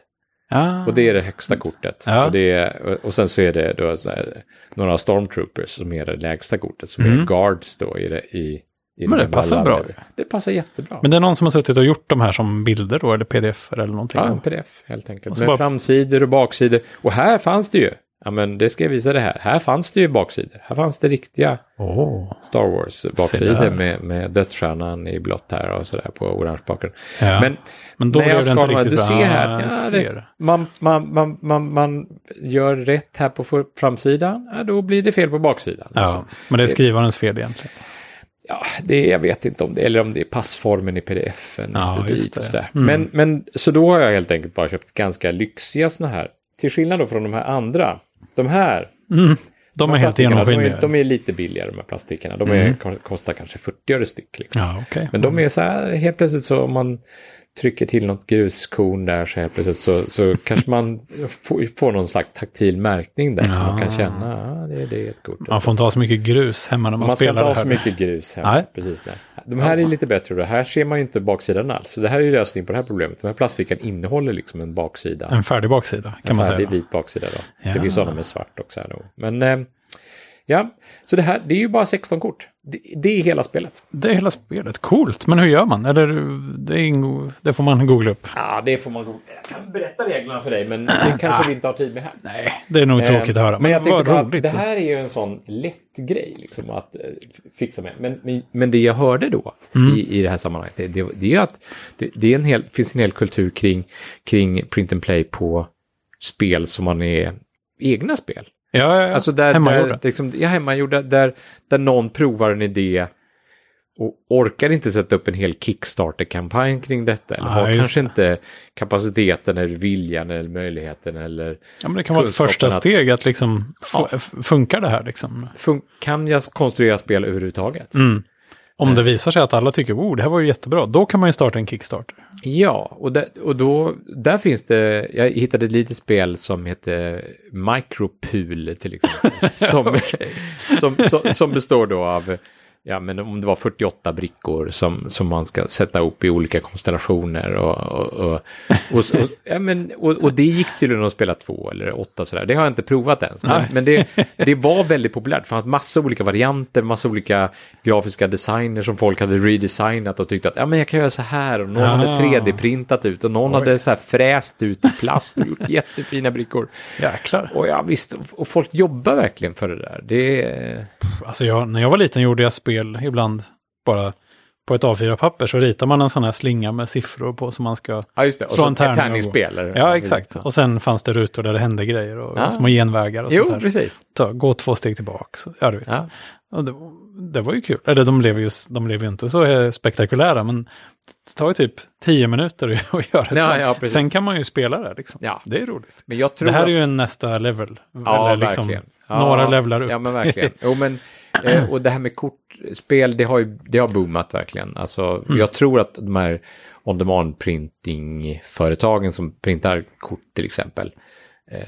Ja,
Och det är det högsta kortet.
Mm. Ja.
Och, det är, och sen så är det då så här, några stormtroopers som är det lägsta kortet. Som är guards då i det. I, i
Mm. Men det
den här
passar bra.
labben. Det passar jättebra.
Men det är någon som har suttit och gjort de här som bilder då, eller pdf eller någonting.
ja, en pdf helt enkelt.
så
Med
bara-
framsidor och baksidor. Och här fanns det ju. Ja men det ska jag visa det här. Här fanns det ju baksidor. Här fanns det riktiga
Åh.
Star Wars baksidor
där.
med, med dödsstjärnan i blått här och sådär på orange bakgrund.
Ja.
Men
Men då
när
blev
jag
det inte
skalar,
riktigt
du
bra.
ser här, att,
jag
ja,
ser.
det, man, man, man, man, man gör rätt här på för- framsidan, ja, då blir det fel på baksidan.
Ja,
Alltså,
men det är skrivarens fel egentligen.
ja, det, jag vet inte om det, eller om det är passformen i pdf-en.
Ja,
hit och dit
just
och
det.
sådär.
Mm.
Men, men, så då har jag helt enkelt bara köpt ganska lyxiga såna här. Till skillnad då från de här andra, de här
De är helt
plastikerna, de,
genomskinliga. Mm.
är, de är lite billigare de här plastikerna. De är, kostar kanske 40 öre styck. Liksom.
Ja, okej.
Men de är så här, helt plötsligt så om man trycker till något gruskorn där så helt plötsligt så, så kanske man får, får någon slags taktil märkning där som man kan känna, ah, det, det är ett kort.
Man får inte ha så mycket grus hemma när man,
Man ska inte
spelar
ha
det här.
så mycket grus här.
Nej.
Precis där. De här är lite bättre och det här ser man ju inte baksidan alls. Så det här är ju lösning på det här problemet. Den här plastfickan innehåller liksom en baksida.
En färdig baksida, kan
Fan,
man säga.
det är
då.
vit baksida då. Det
Ja.
finns sådana med svart också här nog. Men eh, ja, så det här, det är ju bara 16 kort. Det, det är hela spelet.
Det är hela spelet. Coolt, men hur gör man? Eller, det, är ingo... det får man googla upp.
Ja, det får man gå. Jag kan berätta reglerna för dig, men det kanske vi inte har tid med här.
Nej, det är nog tråkigt att höra.
Eh, Men jag tänkte
vad
bara,
roligt.
det här är ju en sån lätt grej liksom, att eh, f- fixa med. Men, men, men det jag hörde då
Mm.
i, i det här sammanhanget, det, det, det är ju att det, det är en hel, finns en hel kultur kring, kring print and play på spel som man är egna spel.
Ja, ja, ja.
Alltså där,
Hemmagjorda.
där, liksom, ja, hemmagjorda, där, där någon provar en idé och orkar inte sätta upp en hel Kickstarter-kampanj kring detta. Eller
Ah,
har
just
kanske
det.
inte kapaciteten eller viljan eller möjligheten eller
ja, men det kan vara ett första
kunskapen att-
steg att liksom, fu- f- funkar det här liksom?
fun- kan jag konstruera spel överhuvudtaget?
Om det visar sig att alla tycker, oh, det här var ju jättebra, då kan man ju starta en Kickstarter.
Ja, och, där, och då, där finns det, jag hittade ett litet spel som heter Micropool till exempel. som, som, som, som består då av, ja men om det var 48 brickor som, som man ska sätta upp i olika konstellationer och, och, och, och, så- och, ja, men, och, och det gick tydligen att spela två eller åtta sådär. Det har jag inte provat ens, men,
Nej.
men det, det var väldigt populärt. Det fanns massa olika varianter, massa olika grafiska designer som folk hade redesignat och tyckt att ja men jag kan göra så här och någon hade
Ah.
3D printat ut och någon hade så här fräst ut i plast och gjort jättefina brickor.
Jäklar.
Och ja, visst, och folk jobbar verkligen för det där. Det är...
Alltså jag, när jag var liten gjorde jag spel ibland bara på ett A4-papper så ritar man en sån här slinga med siffror på som man ska...
Ja, just det. Och
Slå
så
en
ett
tärning och
tärningsspel. eller-
Ja, exakt. Och sen fanns det rutor där det hände grejer och
Ja.
små genvägar och sånt
Jo,
här.
precis.
Ta, gå två steg tillbaka. Så, ja, du vet.
Ja.
Och det, det var ju kul. Eller de blev ju, de blev ju inte så eh, spektakulära, men det tar ju typ tio minuter att- att göra det.
Ja, ja, precis.
Sen kan man ju spela det liksom.
Ja.
Det är roligt.
Men jag tror
Det här
att-
är ju en nästa level.
Ja,
Eller liksom
verkligen.
Några levlar upp.
Ja, men verkligen. Jo, men, eh, och det här med kortspel, det har ju det har boomat verkligen. Alltså,
Mm.
Jag tror att de här on-demand printing-företagen som printar kort till exempel. eh,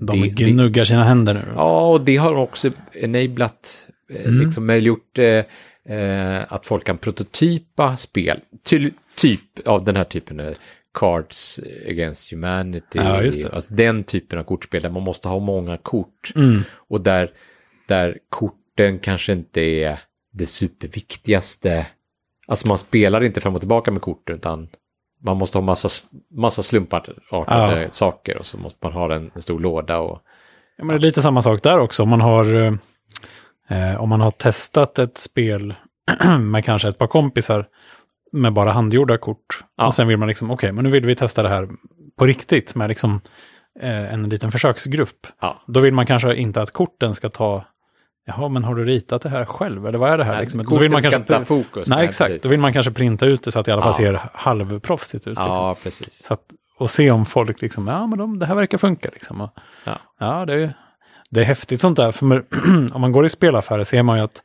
De
det- det-
gnuggar sina händer nu.
Ja, och det har också enablat, eh,
Mm.
liksom möjliggjort eh, eh, att folk kan prototypa spel, till, typ av den här typen av Cards Against Humanity.
Ja, just det.
Alltså den typen av kortspel där man måste ha många kort.
Mm.
Och där, där korten kanske inte är det superviktigaste. Alltså man spelar inte fram och tillbaka med kort utan man måste ha massa, massa slumpartade
Ja.
saker och så måste man ha en, en stor låda. Och,
Ja, men det är lite samma sak där också. Om man har, eh, om man har testat ett spel med kanske ett par kompisar med bara handgjorda kort.
Ja.
Och sen vill man liksom, okej, men nu vill vi testa det här på riktigt med liksom eh, en liten försöksgrupp.
ja.
Då vill man kanske inte att korten ska ta, jaha, men har du ritat det här själv? Eller vad är det här? Liksom, då
Korten
vill man
ska
kanske,
inte ta fokus.
nej, exakt. Då
precis.
vill man kanske printa ut det så att det i alla
Ja.
fall ser halvproffsigt ut. liksom.
Ja, precis.
Så att, och se om folk liksom, ja men de, det här verkar funka liksom. Och,
Ja.
ja, det är, det är häftigt sånt där. För med- om man går i spelaffärer ser man ju att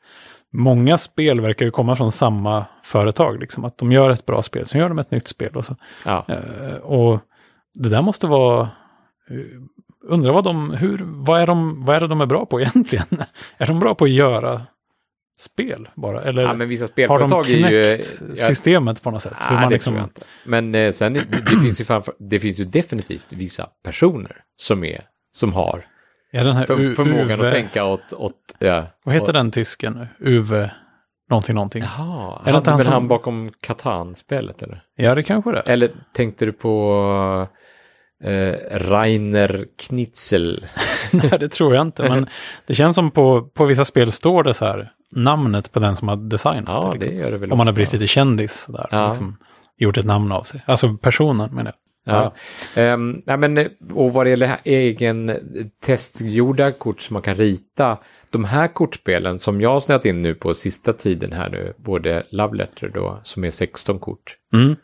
många spel verkar ju komma från samma företag. Liksom. Att de gör ett bra spel, sen gör de ett nytt spel. Och, så.
Ja.
Eh, och det där måste vara... eh, Undrar vad de, hur, vad är de, vad är det de är bra på egentligen? är de bra på att göra spel bara? Eller
ja, men vissa
har de
spelföretag är ju...
knäckt
ja,
systemet på något sätt?
Nej,
liksom
det tror jag inte. Men eh, sen, det, det, finns ju framför, det finns ju definitivt vissa personer som, är, som har
Ja, den här
för,
Eh, U-
förmågan
Uwe-
att tänka åt... åt ja.
Vad heter
åt,
den tysken nu? Uwe någonting någonting. Ja,
Jaha,
Är det
han,
inte han
men
som-
han bakom Catan-spelet eller?
det kanske det är.
Eller tänkte du på eh, Rainer Knitzel?
Nej, det tror jag inte. Men det känns som på, på vissa spel står det så här namnet på den som har designat
Ja,
det.
det
Liksom.
gör det väl
Om man har
ofta.
blivit lite kändis där.
Ja.
Liksom, gjort ett namn av sig. Alltså personen menar jag.
Ja. Ehm, nej, men, eh, och vad det gäller egen eh, testgjorda kort som man kan rita, de här kortspelen som jag har snöat in nu på sista tiden här nu, både Love Letter då, som är 16 kort,
Mm.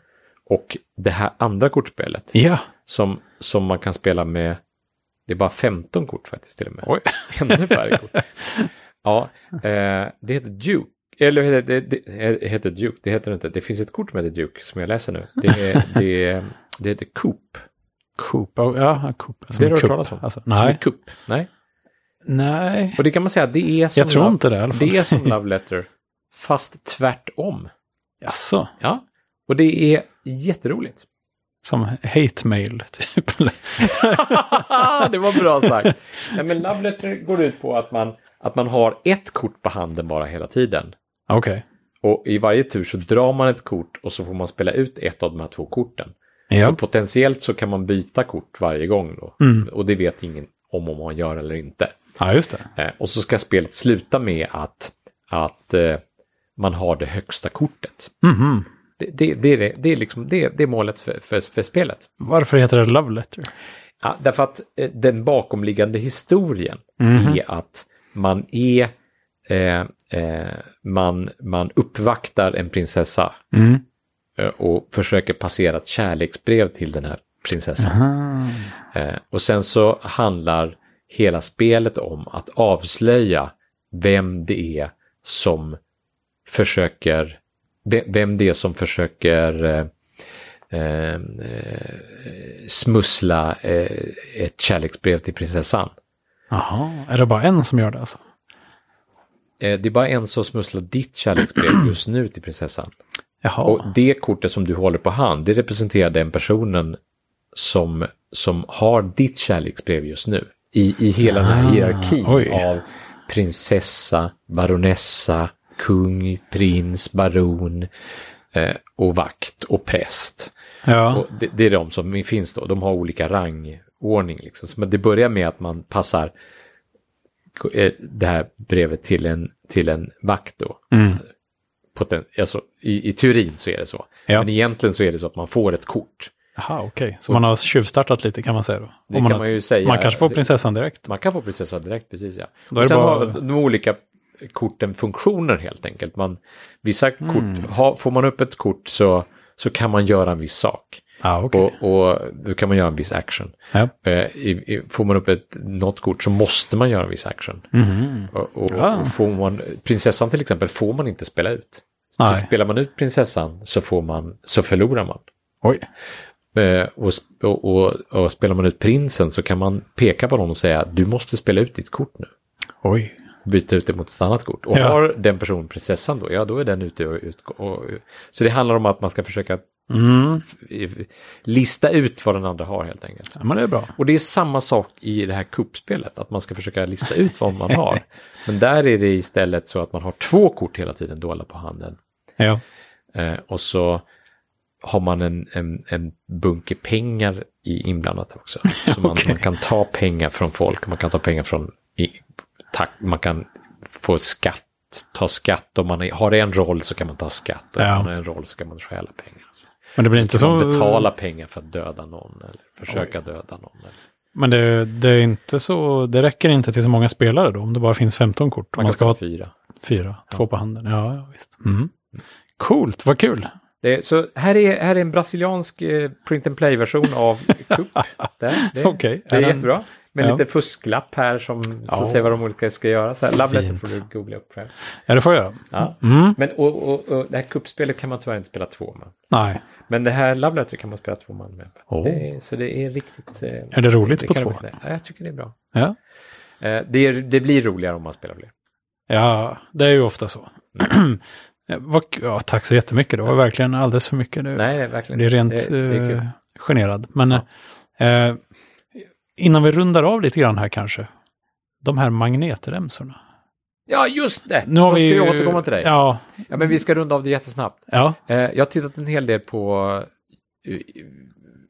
och det här andra kortspelet
Ja,
som, som man kan spela med, det är bara 15 kort faktiskt till och med.
oj.
Ännu färre kort. Ja, eh, det heter Duke. Eller heter det, det heter Duke, det heter det inte. Det finns ett kort som heter Duke som jag läser nu. Det, är, det, är- det heter Coop.
Coop. Ja, Coop. Som
Det har
en
du hört
kupp,
talas om?
Alltså,
Som är
nej.
kupp? Nej.
nej,
Och det kan man säga, det är som,
jag tror
love,
inte det i alla fall.
det är som love letter, fast tvärtom.
Jaså,
Ja. Och det är jätteroligt.
som hate mail typ. eller?
Ah, det var bra sagt. Nej, men love letter går ut på att man, att man har ett kort på handen bara hela tiden.
Okej,
Och i varje tur så drar man ett kort och så får man spela ut ett av de här två korten.
ja.
Så potentiellt så kan man byta kort varje gång då.
Mm.
Och det vet ingen om om man gör eller inte.
ja, just det.
Eh, Och så ska spelet sluta med att, att eh, man har det högsta kortet.
Mhm.
Det, det, det, är, det, det, är, liksom, det, det är målet för, för, för spelet.
Varför heter det Love Letter?
Ja, därför att eh, den bakomliggande historien är att man är eh, eh, man, man uppvaktar en prinsessa
Mm.
eh, och försöker passera ett kärleksbrev till den här prinsessan. Eh, och sen så handlar hela spelet om att avslöja vem det är som försöker, ve- vem det är som försöker eh, eh, eh, smussla eh, ett kärleksbrev till prinsessan.
Jaha, är det bara en som gör det alltså?
Eh, det är bara en som smusslar ditt kärleksbrev just nu till prinsessan.
Jaha,
Och det kortet som du håller på hand, det representerar den personen som, som har ditt kärleksbrev just nu. I, i hela den
Ah,
här hierarkin
oj.
av prinsessa, baronessa, kung, prins, baron eh, och vakt och präst.
ja.
Och det, det är de som finns då, de har olika rangordning. Liksom. Så, Men det börjar med att man passar eh, det här brevet till en, till en vakt då
mm.
poten, alltså, i, i teorin så är det så.
Ja.
Men egentligen så är det så att man får ett kort.
Jaha, okej. Så man har tjuvstartat lite kan man säga då?
Det
Om man,
kan man ju säga.
man kanske får prinsessan direkt.
Man kan få prinsessa direkt, precis ja.
är
Och
det
sen
bara-
har de olika korten funktioner helt enkelt. Man, vissa
Mm.
kort, ha, får man upp ett kort så, så kan man göra en viss sak.
Ja, okej.
Och, och då kan man göra en viss action.
Ja.
Eh, i, i, får man upp ett, något kort så måste man göra en viss action.
Mhm.
Och, och,
Ah.
och får man, prinsessan till exempel får man inte spela ut.
Nej.
Spelar man ut prinsessan så, får man, så förlorar man.
Oj.
Eh, och, sp- och, och, och spelar man ut prinsen så kan man peka på honom och säga du måste spela ut ditt kort nu.
Oj.
Byta ut det mot ett annat kort. Och
Ja.
har den personen prinsessan då, ja då är den ute och utgår. Så det handlar om att man ska försöka
Mm.
eh, lista ut vad den andra har helt enkelt.
Ja, men det är bra.
Och det är samma sak i det här kuppspelet, att man ska försöka lista ut vad man har. Men där är det istället så att man har två kort hela tiden dolda på handen.
Ja.
Eh, och så har man en, en, en bunke pengar i inblandat också. Så man,
Okej.
man kan ta pengar från folk, man kan ta pengar från, i, tack, man kan få skatt, ta skatt. Om man är- har en roll så kan man ta skatt, och
Ja.
om man har en roll så kan man stjäla pengar.
Men det blir inte
Så kan
så...
man betala pengar för att döda någon eller försöka döda någon. Eller.
Men det, det är inte så... Det räcker inte till så många spelare då, om det bara finns 15 kort. Om
Man,
man ska ha
fyra.
fyra, två på handen. Ja, ja visst. Mm. Coolt, vad kul.
Det är, så här är, här är en brasiliansk eh, print and play-version av Cup. Det, det,
Okej,
det
är
är
den-
jättebra. Med
ja.
lite fusklapp här som
Ja.
som säger vad de olika ska göra. Så här, labbletter
Fint.
får du googla upp själv.
Ja, det får jag göra.
Ja.
Mm.
Men och, och, och det här kuppspelet kan man tyvärr inte spela två man.
Nej,
Men det här labbletter kan man spela två man med.
Oh.
Det är, så det är riktigt... eh,
är det roligt på
kan
två?
vara kul. Ja, jag tycker det är bra.
Ja.
Eh, Det, är, det blir roligare om man spelar fler.
ja, det är ju ofta så. ja, vad, ja, tack så jättemycket. Det var verkligen alldeles för mycket. Det,
Nej, det är verkligen
det är rent
det är
eh,
kul.
generad. Men
Ja.
eh, innan vi rundar av lite grann här kanske. De här magnetremsorna.
Ja, just det!
Nu har
Då
vi
ska jag
ju-
återkomma till dig. Ja.
Ja,
men vi ska runda av det jättesnabbt.
ja,
Eh, Jag har tittat en hel del på eh,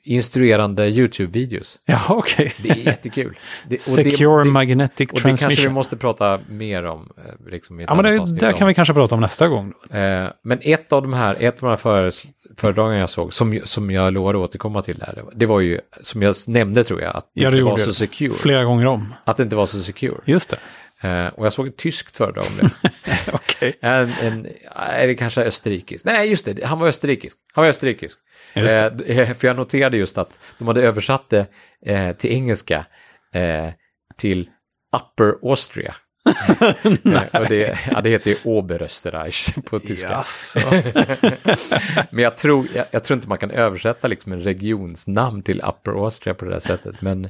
instruerande YouTube-videos.
ja okej.
Det är jättekul. Det, och det-
Secure
det,
Magnetic
Och det kanske vi
Transmission.
måste prata mer om. eh, Liksom, i ett
Ja, men
annat
det,
avsnitt
där
om.
kan vi kanske prata om nästa gång. Då.
Eh, Men ett av de här, ett av de här föres- föredragen jag såg, som, ju- som jag lovade återkomma till där, det var- det var ju, som jag nämnde tror jag, att det
Ja, det
inte var
gjorde
så
du.
secure.
Flera gånger om.
Att det inte var så secure.
Just det.
Eh, Och jag såg ett tyskt föredrag om det.
Okej.
En, en, eller kanske österrikisk. Nej, just det, han var österrikisk. Han var österrikisk.
Just det.
Eh, d- eh, för jag noterade just att de hade översatt det eh, till engelska eh, till Upper Austria. Eh, och det, ja, det heter ju Oberösterreich på tyska.
Jaså.
Men jag tror, jag, jag tror inte man kan översätta liksom en regionsnamn till Upper Austria på det där sättet. Men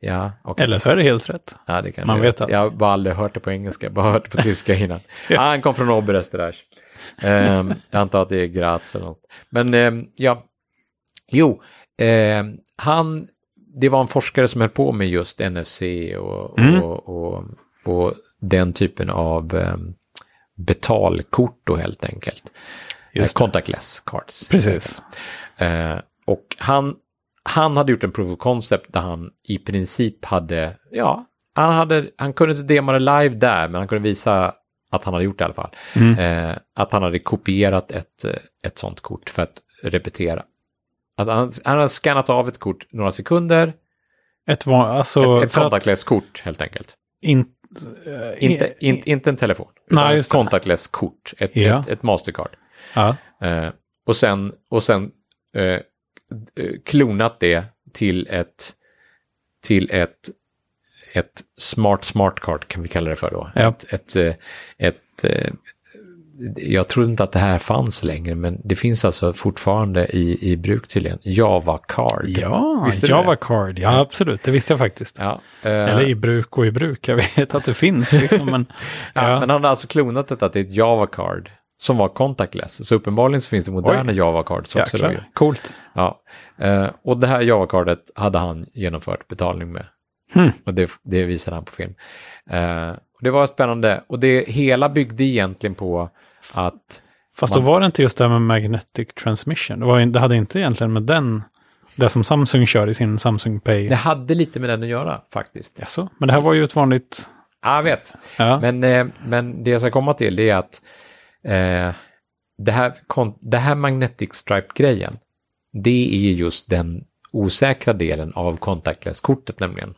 ja, okej.
Eller så är det helt rätt.
ja det kan
man
jag.
vet aldrig.
Jag har bara aldrig hört det på engelska, jag har bara hört det på tyska innan. ah, han kom från Oberösterreich. Um, jag antar att det är Graz eller något. Men ehm, ja, jo, ehm, han, det var en forskare som höll på med just NFC och, och,
Mm.
och, och, den typen av ehm, betalkort då helt enkelt. Eh,
Just det.
Contactless cards.
Precis.
Eh, och han, han hade gjort en proof of concept där han i princip hade, ja, han, hade, han kunde inte dema det live där, men han kunde visa att han hade gjort det i alla fall.
Mm.
Eh, att han hade kopierat ett, eh, ett sånt kort för att repetera. Att han, han hade skannat av ett kort några sekunder,
Ett, van, alltså,
ett, ett
för att
contactless-kort helt enkelt.
in, eh, in-
Inte, in, inte en telefon,
Nej,
utan ett
just det.
contactless-kort, ett,
Ja.
ett, ett mastercard.
Ja,
Eh, och sen, och sen eh, eh, klonat det till ett, till ett, ett smart smart card kan vi kalla det för då.
Ja.
Ett, ett, eh, ett, eh, jag trodde inte att det här fanns längre, men det finns alltså fortfarande i, i bruk tydligen. Java card.
ja
Visste du
Java
det?
Card. Ja, absolut. Det visste jag faktiskt.
Ja, eh,
Eller i bruk och i bruk. Jag vet att det finns liksom. Men,
ja.
ja.
Men han hade alltså klonat detta till ett Java card som var contactless. Så uppenbarligen så finns det moderna Java cards också. då ju.
Jäklar, coolt.
Ja, eh, och det här Java-kardet hade han genomfört betalning med.
Hmm.
Och det, det visade han på film. Eh, och det var spännande. Och det hela byggde egentligen på att,
Fast
Man-
då var det inte just det här med Magnetic Transmission. Det, var, in- det hade inte egentligen med den, det som Samsung kör i sin Samsung Pay.
det hade lite med den att göra faktiskt.
Jaså? Men det här var ju ett vanligt...
Ja, jag vet.
Ja,
Men, eh, men det jag ska komma till det är att eh, det, här, kon- det här Magnetic Stripe-grejen, det är just den osäkra delen av contactless-kortet nämligen.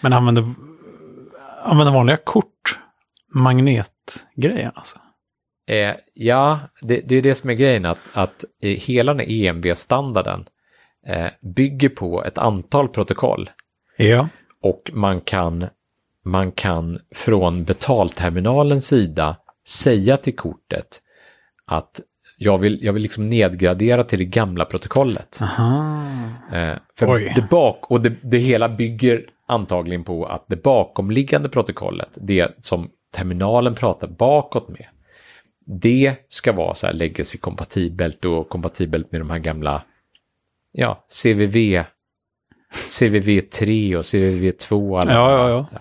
men använde, använde vanliga kort, magnetgrejen alltså.
Eh, ja, det, det är det som är grejen, att, att eh, hela den här EMV-standarden eh, bygger på ett antal protokoll
Ja,
och man kan, man kan från betalterminalens sida säga till kortet att jag vill, jag vill liksom nedgradera till det gamla protokollet.
Aha.
Eh, för
Oj.
det bak, och det, det hela bygger antagligen på att det bakomliggande protokollet, det som terminalen pratar bakåt med, det ska vara så här legacy-kompatibelt och kompatibelt med de här gamla, ja, CVV, CVV3 och CVV2. Alla
Ja,
de här.
ja, ja.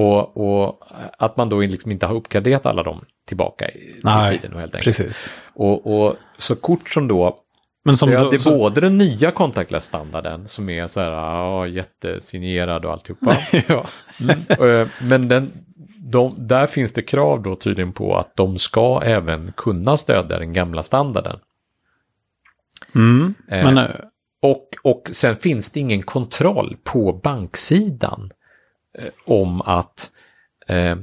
Och, och att man då liksom inte har uppgraderat alla dem tillbaka i, i
Nej,
tiden. Helt enkelt.
Precis.
Och, och så kort som då,
Men som
det,
då-
det är
så-
både den nya contactless-standarden som är så här, ja, jättesignerad och alltihopa.
ja.
Eh, Men den, de, där finns det krav då tydligen på att de ska även kunna stödja den gamla standarden.
Mm.
Eh,
Men eh,
Och, och sen finns det ingen kontroll på banksidan eh, om att eh,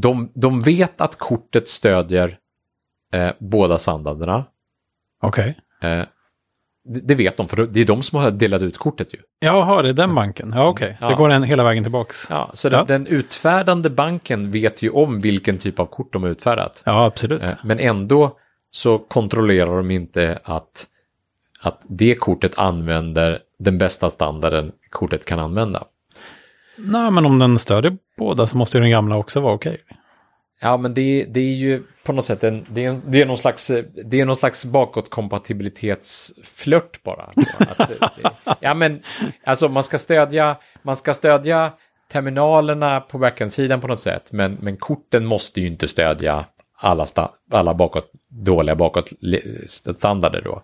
de, de vet att kortet stödjer eh, båda standarderna.
okej.
Eh, det, det vet de, för det är de som har delat ut kortet ju.
Jaha, det är den banken. Ja, okej.
Ja.
Det går en hela vägen tillbaks. Ja,
Ja, så den,
Ja.
den utfärdande banken vet ju om vilken typ av kort de har utfärdat.
absolut.
Eh, Men ändå så kontrollerar de inte att, att det kortet använder den bästa standarden kortet kan använda.
Nej, men om den stödjer båda så måste ju den gamla också vara okej.
Ja, men det, det är ju på något sätt en, det är, en- det är någon slags, eh, det är någon slags bakåtkompatibilitetsflört bara. Att, eh, det, ja, men alltså man ska stödja, man ska stödja terminalerna på backend-sidan på något sätt, men, men korten måste ju inte stödja alla, sta, alla bakåt, dåliga bakåtstandarder då.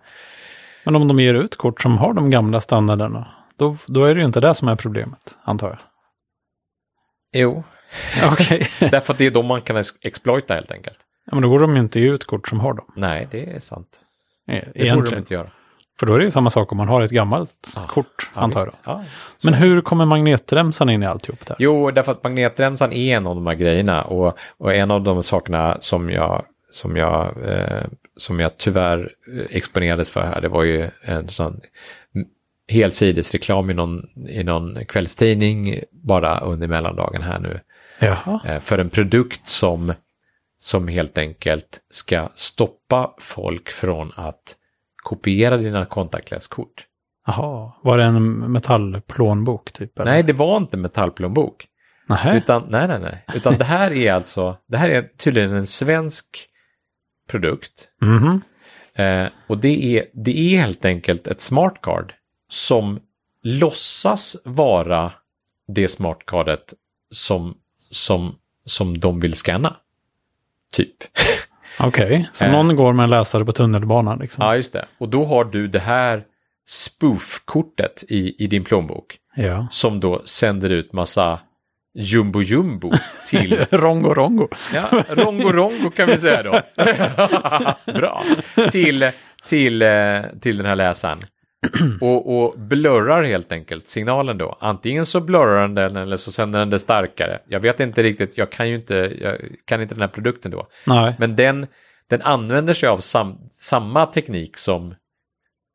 Men om de ger ut kort som har de gamla standarderna, då, då är det ju inte det som är problemet, antar jag.
Jo,
Okej.
Därför att det är de man kan ex- exploita helt enkelt.
ja, men då går de ju inte ut kort som har dem.
Nej, det är sant.
e-
Det borde de
Egentligen.
inte göra.
För då är det ju samma sak om man har ett gammalt
Ja.
kort,
Ja,
antar jag.
visst. Ja.
Men hur kommer magnetremsan in i alltihop där?
Jo, därför att magnetremsan är en av de här grejerna och, och en av de sakerna som jag, som jag, eh, som jag tyvärr eh, exponerades för här, det var ju en sån helsidesreklam i någon, i någon kvällstidning bara under mellandagen här nu.
Jaha.
eh, för en produkt som, som helt enkelt ska stoppa folk från att kopiera dina kontaktlöskort.
Jaha. Var det en metallplånbok typ? eller?
Nej, det var inte metallplånbok.
Nähä.
Utan, nej, nej, nej. Utan det här är alltså, det här är tydligen en svensk produkt.
Mhm.
Eh, och det är, det är helt enkelt ett smart card som låtsas vara det smart cardet som, som, som de vill scanna. Typ.
Okej, så
Eh.
någon går med en läsare på tunnelbanan liksom?
Ja, just det. Och då har du det här spoof-kortet i, i din plånbok
Ja.
som då sänder ut massa jumbo-jumbo till
Rongo Rongo.
ja, Rongo Rongo kan vi säga då. Bra. Till, till, eh, till den här läsaren. Och, och blurrar helt enkelt signalen då. Antingen så blurrar den den eller så sänder den det starkare. Jag vet inte riktigt, jag kan ju inte, jag kan inte den här produkten då.
Nej,
Men den, den använder sig av sam, samma teknik som,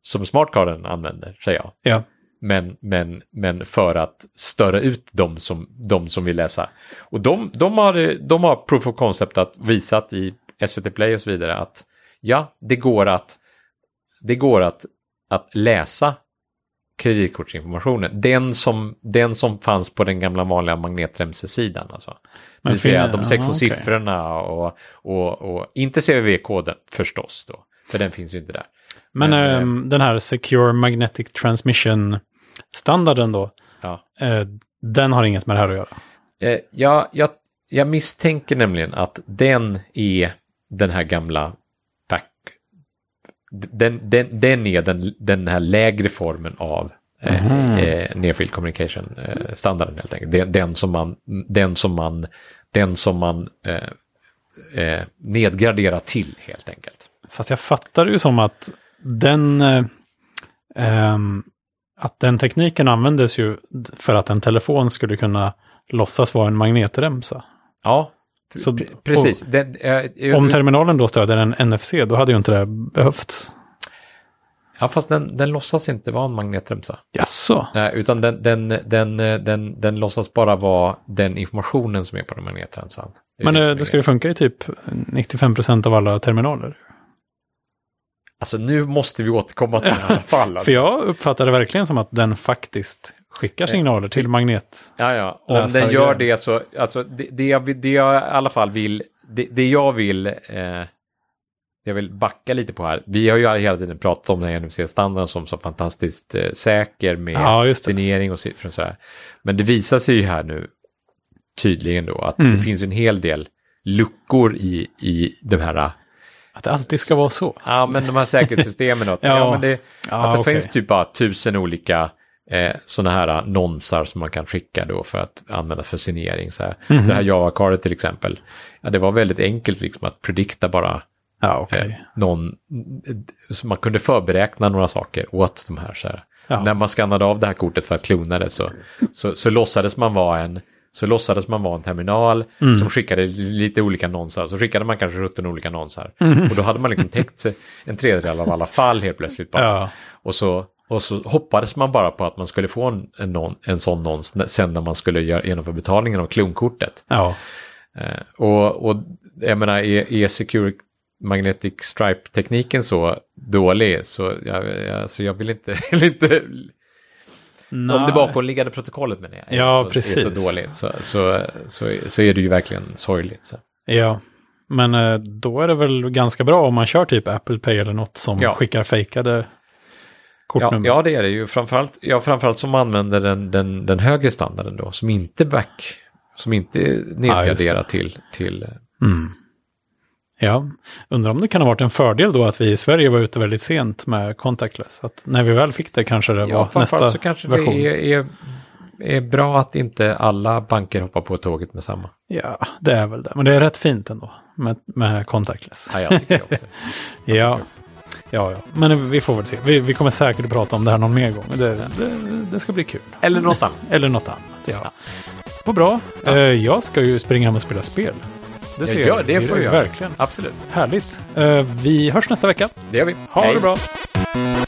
som smartcarden använder, säger jag.
ja.
Men, men, men för att störa ut de som, de som vill läsa. Och de, de, har, de har proof of concept att visat i SVT Play och så vidare att ja, det går att, det går att, att läsa kreditkortsinformationen. Den som, den som fanns på den gamla vanliga magnetremsesidan. Alltså. Det
Men
vill säga
fin-
de 16
ja, okej.
siffrorna och, och, och inte CVV-koden förstås då. För den finns ju inte där.
Men
Men, eh,
ehm, den här Secure Magnetic Transmission-standarden då,
Ja.
eh, den har inget med det här att göra.
Eh, jag, jag, jag misstänker nämligen att den är den här gamla back... Den, den, den är den, den här lägre formen av eh, eh, near-field communication-standarden helt enkelt. Den, den som man, den som man, den som man eh, eh, nedgraderar till helt enkelt.
Fast jag fattar ju som att den, eh, ehm, att den tekniken användes ju d- för att en telefon skulle kunna låtsas vara en magnetremsa.
Ja,
Så-
pre- precis. Den, eh, eh,
Om terminalen då stödjer en NFC, då hade ju inte det behövts.
ja, fast den, den låtsas inte vara en magnetremsa.
Jaså?
Nej, utan den, den, den, eh, den, den låtsas bara vara den informationen som är på den magnetremsan. Det är
Men
det som
eh,
är
det ska
grejen.
ju funka i typ 95% av alla terminaler.
Alltså nu måste vi återkomma till det här i alla fall. Alltså.
För jag uppfattar det verkligen som att den faktiskt
Eh,
skickar signaler till magnet.
Ja, ja. Om
Läsa
den gör
grejen.
det så, alltså det, det, jag, vill- det jag i alla fall vill, det, det jag vill eh, jag vill backa lite på här. Vi har ju hela tiden pratat om den här NFC-standarden som så fantastiskt eh, säker med
Ja, just det.
signering och siffror och sådär. Men det visar sig ju här nu tydligen då att det finns en hel del luckor i, i de här
Att det alltid ska vara så.
Ja, men de här säkerhetssystemen. Då, ja,
Ja.
men det,
Ja,
att det
okej.
finns typ bara tusen olika eh, sådana här nonsar som man kan skicka då för att använda för signering. Så, här. så det här Java-kardet till exempel. Ja, det var väldigt enkelt liksom att predikta bara
Ja, okej.
eh, någon, så man kunde förberäkna några saker åt de här. Så här.
Ja.
När man skannade av det här kortet för att klona det så, så, så låtsades man vara en så låtsades man vara en terminal
Mm.
som skickade lite olika annonser. Så skickade man kanske 17 olika annonser.
Mm.
Och då hade man liksom täckt sig en tredjedel av alla fall helt plötsligt. Bara.
Ja.
Och, så, och så hoppades man bara på att man skulle få en, en, non- en sån nons när- sen när man skulle göra, genomföra betalningen av klonkortet.
Ja.
Eh, Och, och jag menar, är, är Secure Magnetic Stripe-tekniken så dålig så jag, jag- alltså jag vill inte... vill inte om
Nej.
det bakomliggande protokollet menar jag, är,
Ja,
så,
precis.
är så dåligt så, så, så, så är det ju verkligen sorgligt. Så.
Ja. Men eh, då är det väl ganska bra om man kör typ Apple Pay eller något som
Ja.
skickar fejkade
Ja,
kortnummer.
ja, det är det ju. Framförallt, ja, framförallt som använder den, den, den högre standarden då, som inte back, som inte nedgraderar till, till...
Mm. Ja, undrar om det kan ha varit en fördel då att vi i Sverige var ute väldigt sent med contactless. Att när vi väl fick det kanske det
Ja,
var nästa
framförallt så kanske
version.
det är, är, är bra att inte alla banker hoppar på tåget med samma.
Ja, det är väl det. Men det är rätt fint ändå med, med contactless.
Ja, jag tycker det också.
Ja. Ja, ja, men vi får väl se. Vi, vi kommer säkert att prata om det här någon mer gång. Det, det, det ska bli kul.
Eller något annat.
Eller något annat. Ja. Vad bra. Eh, Jag ska ju springa hem och spela spel. Det ser
gör, det
jag.
får du göra.
Verkligen.
Absolut.
Härligt. Eh, Vi hörs nästa vecka.
Det gör vi.
Ha
Hej.
det bra.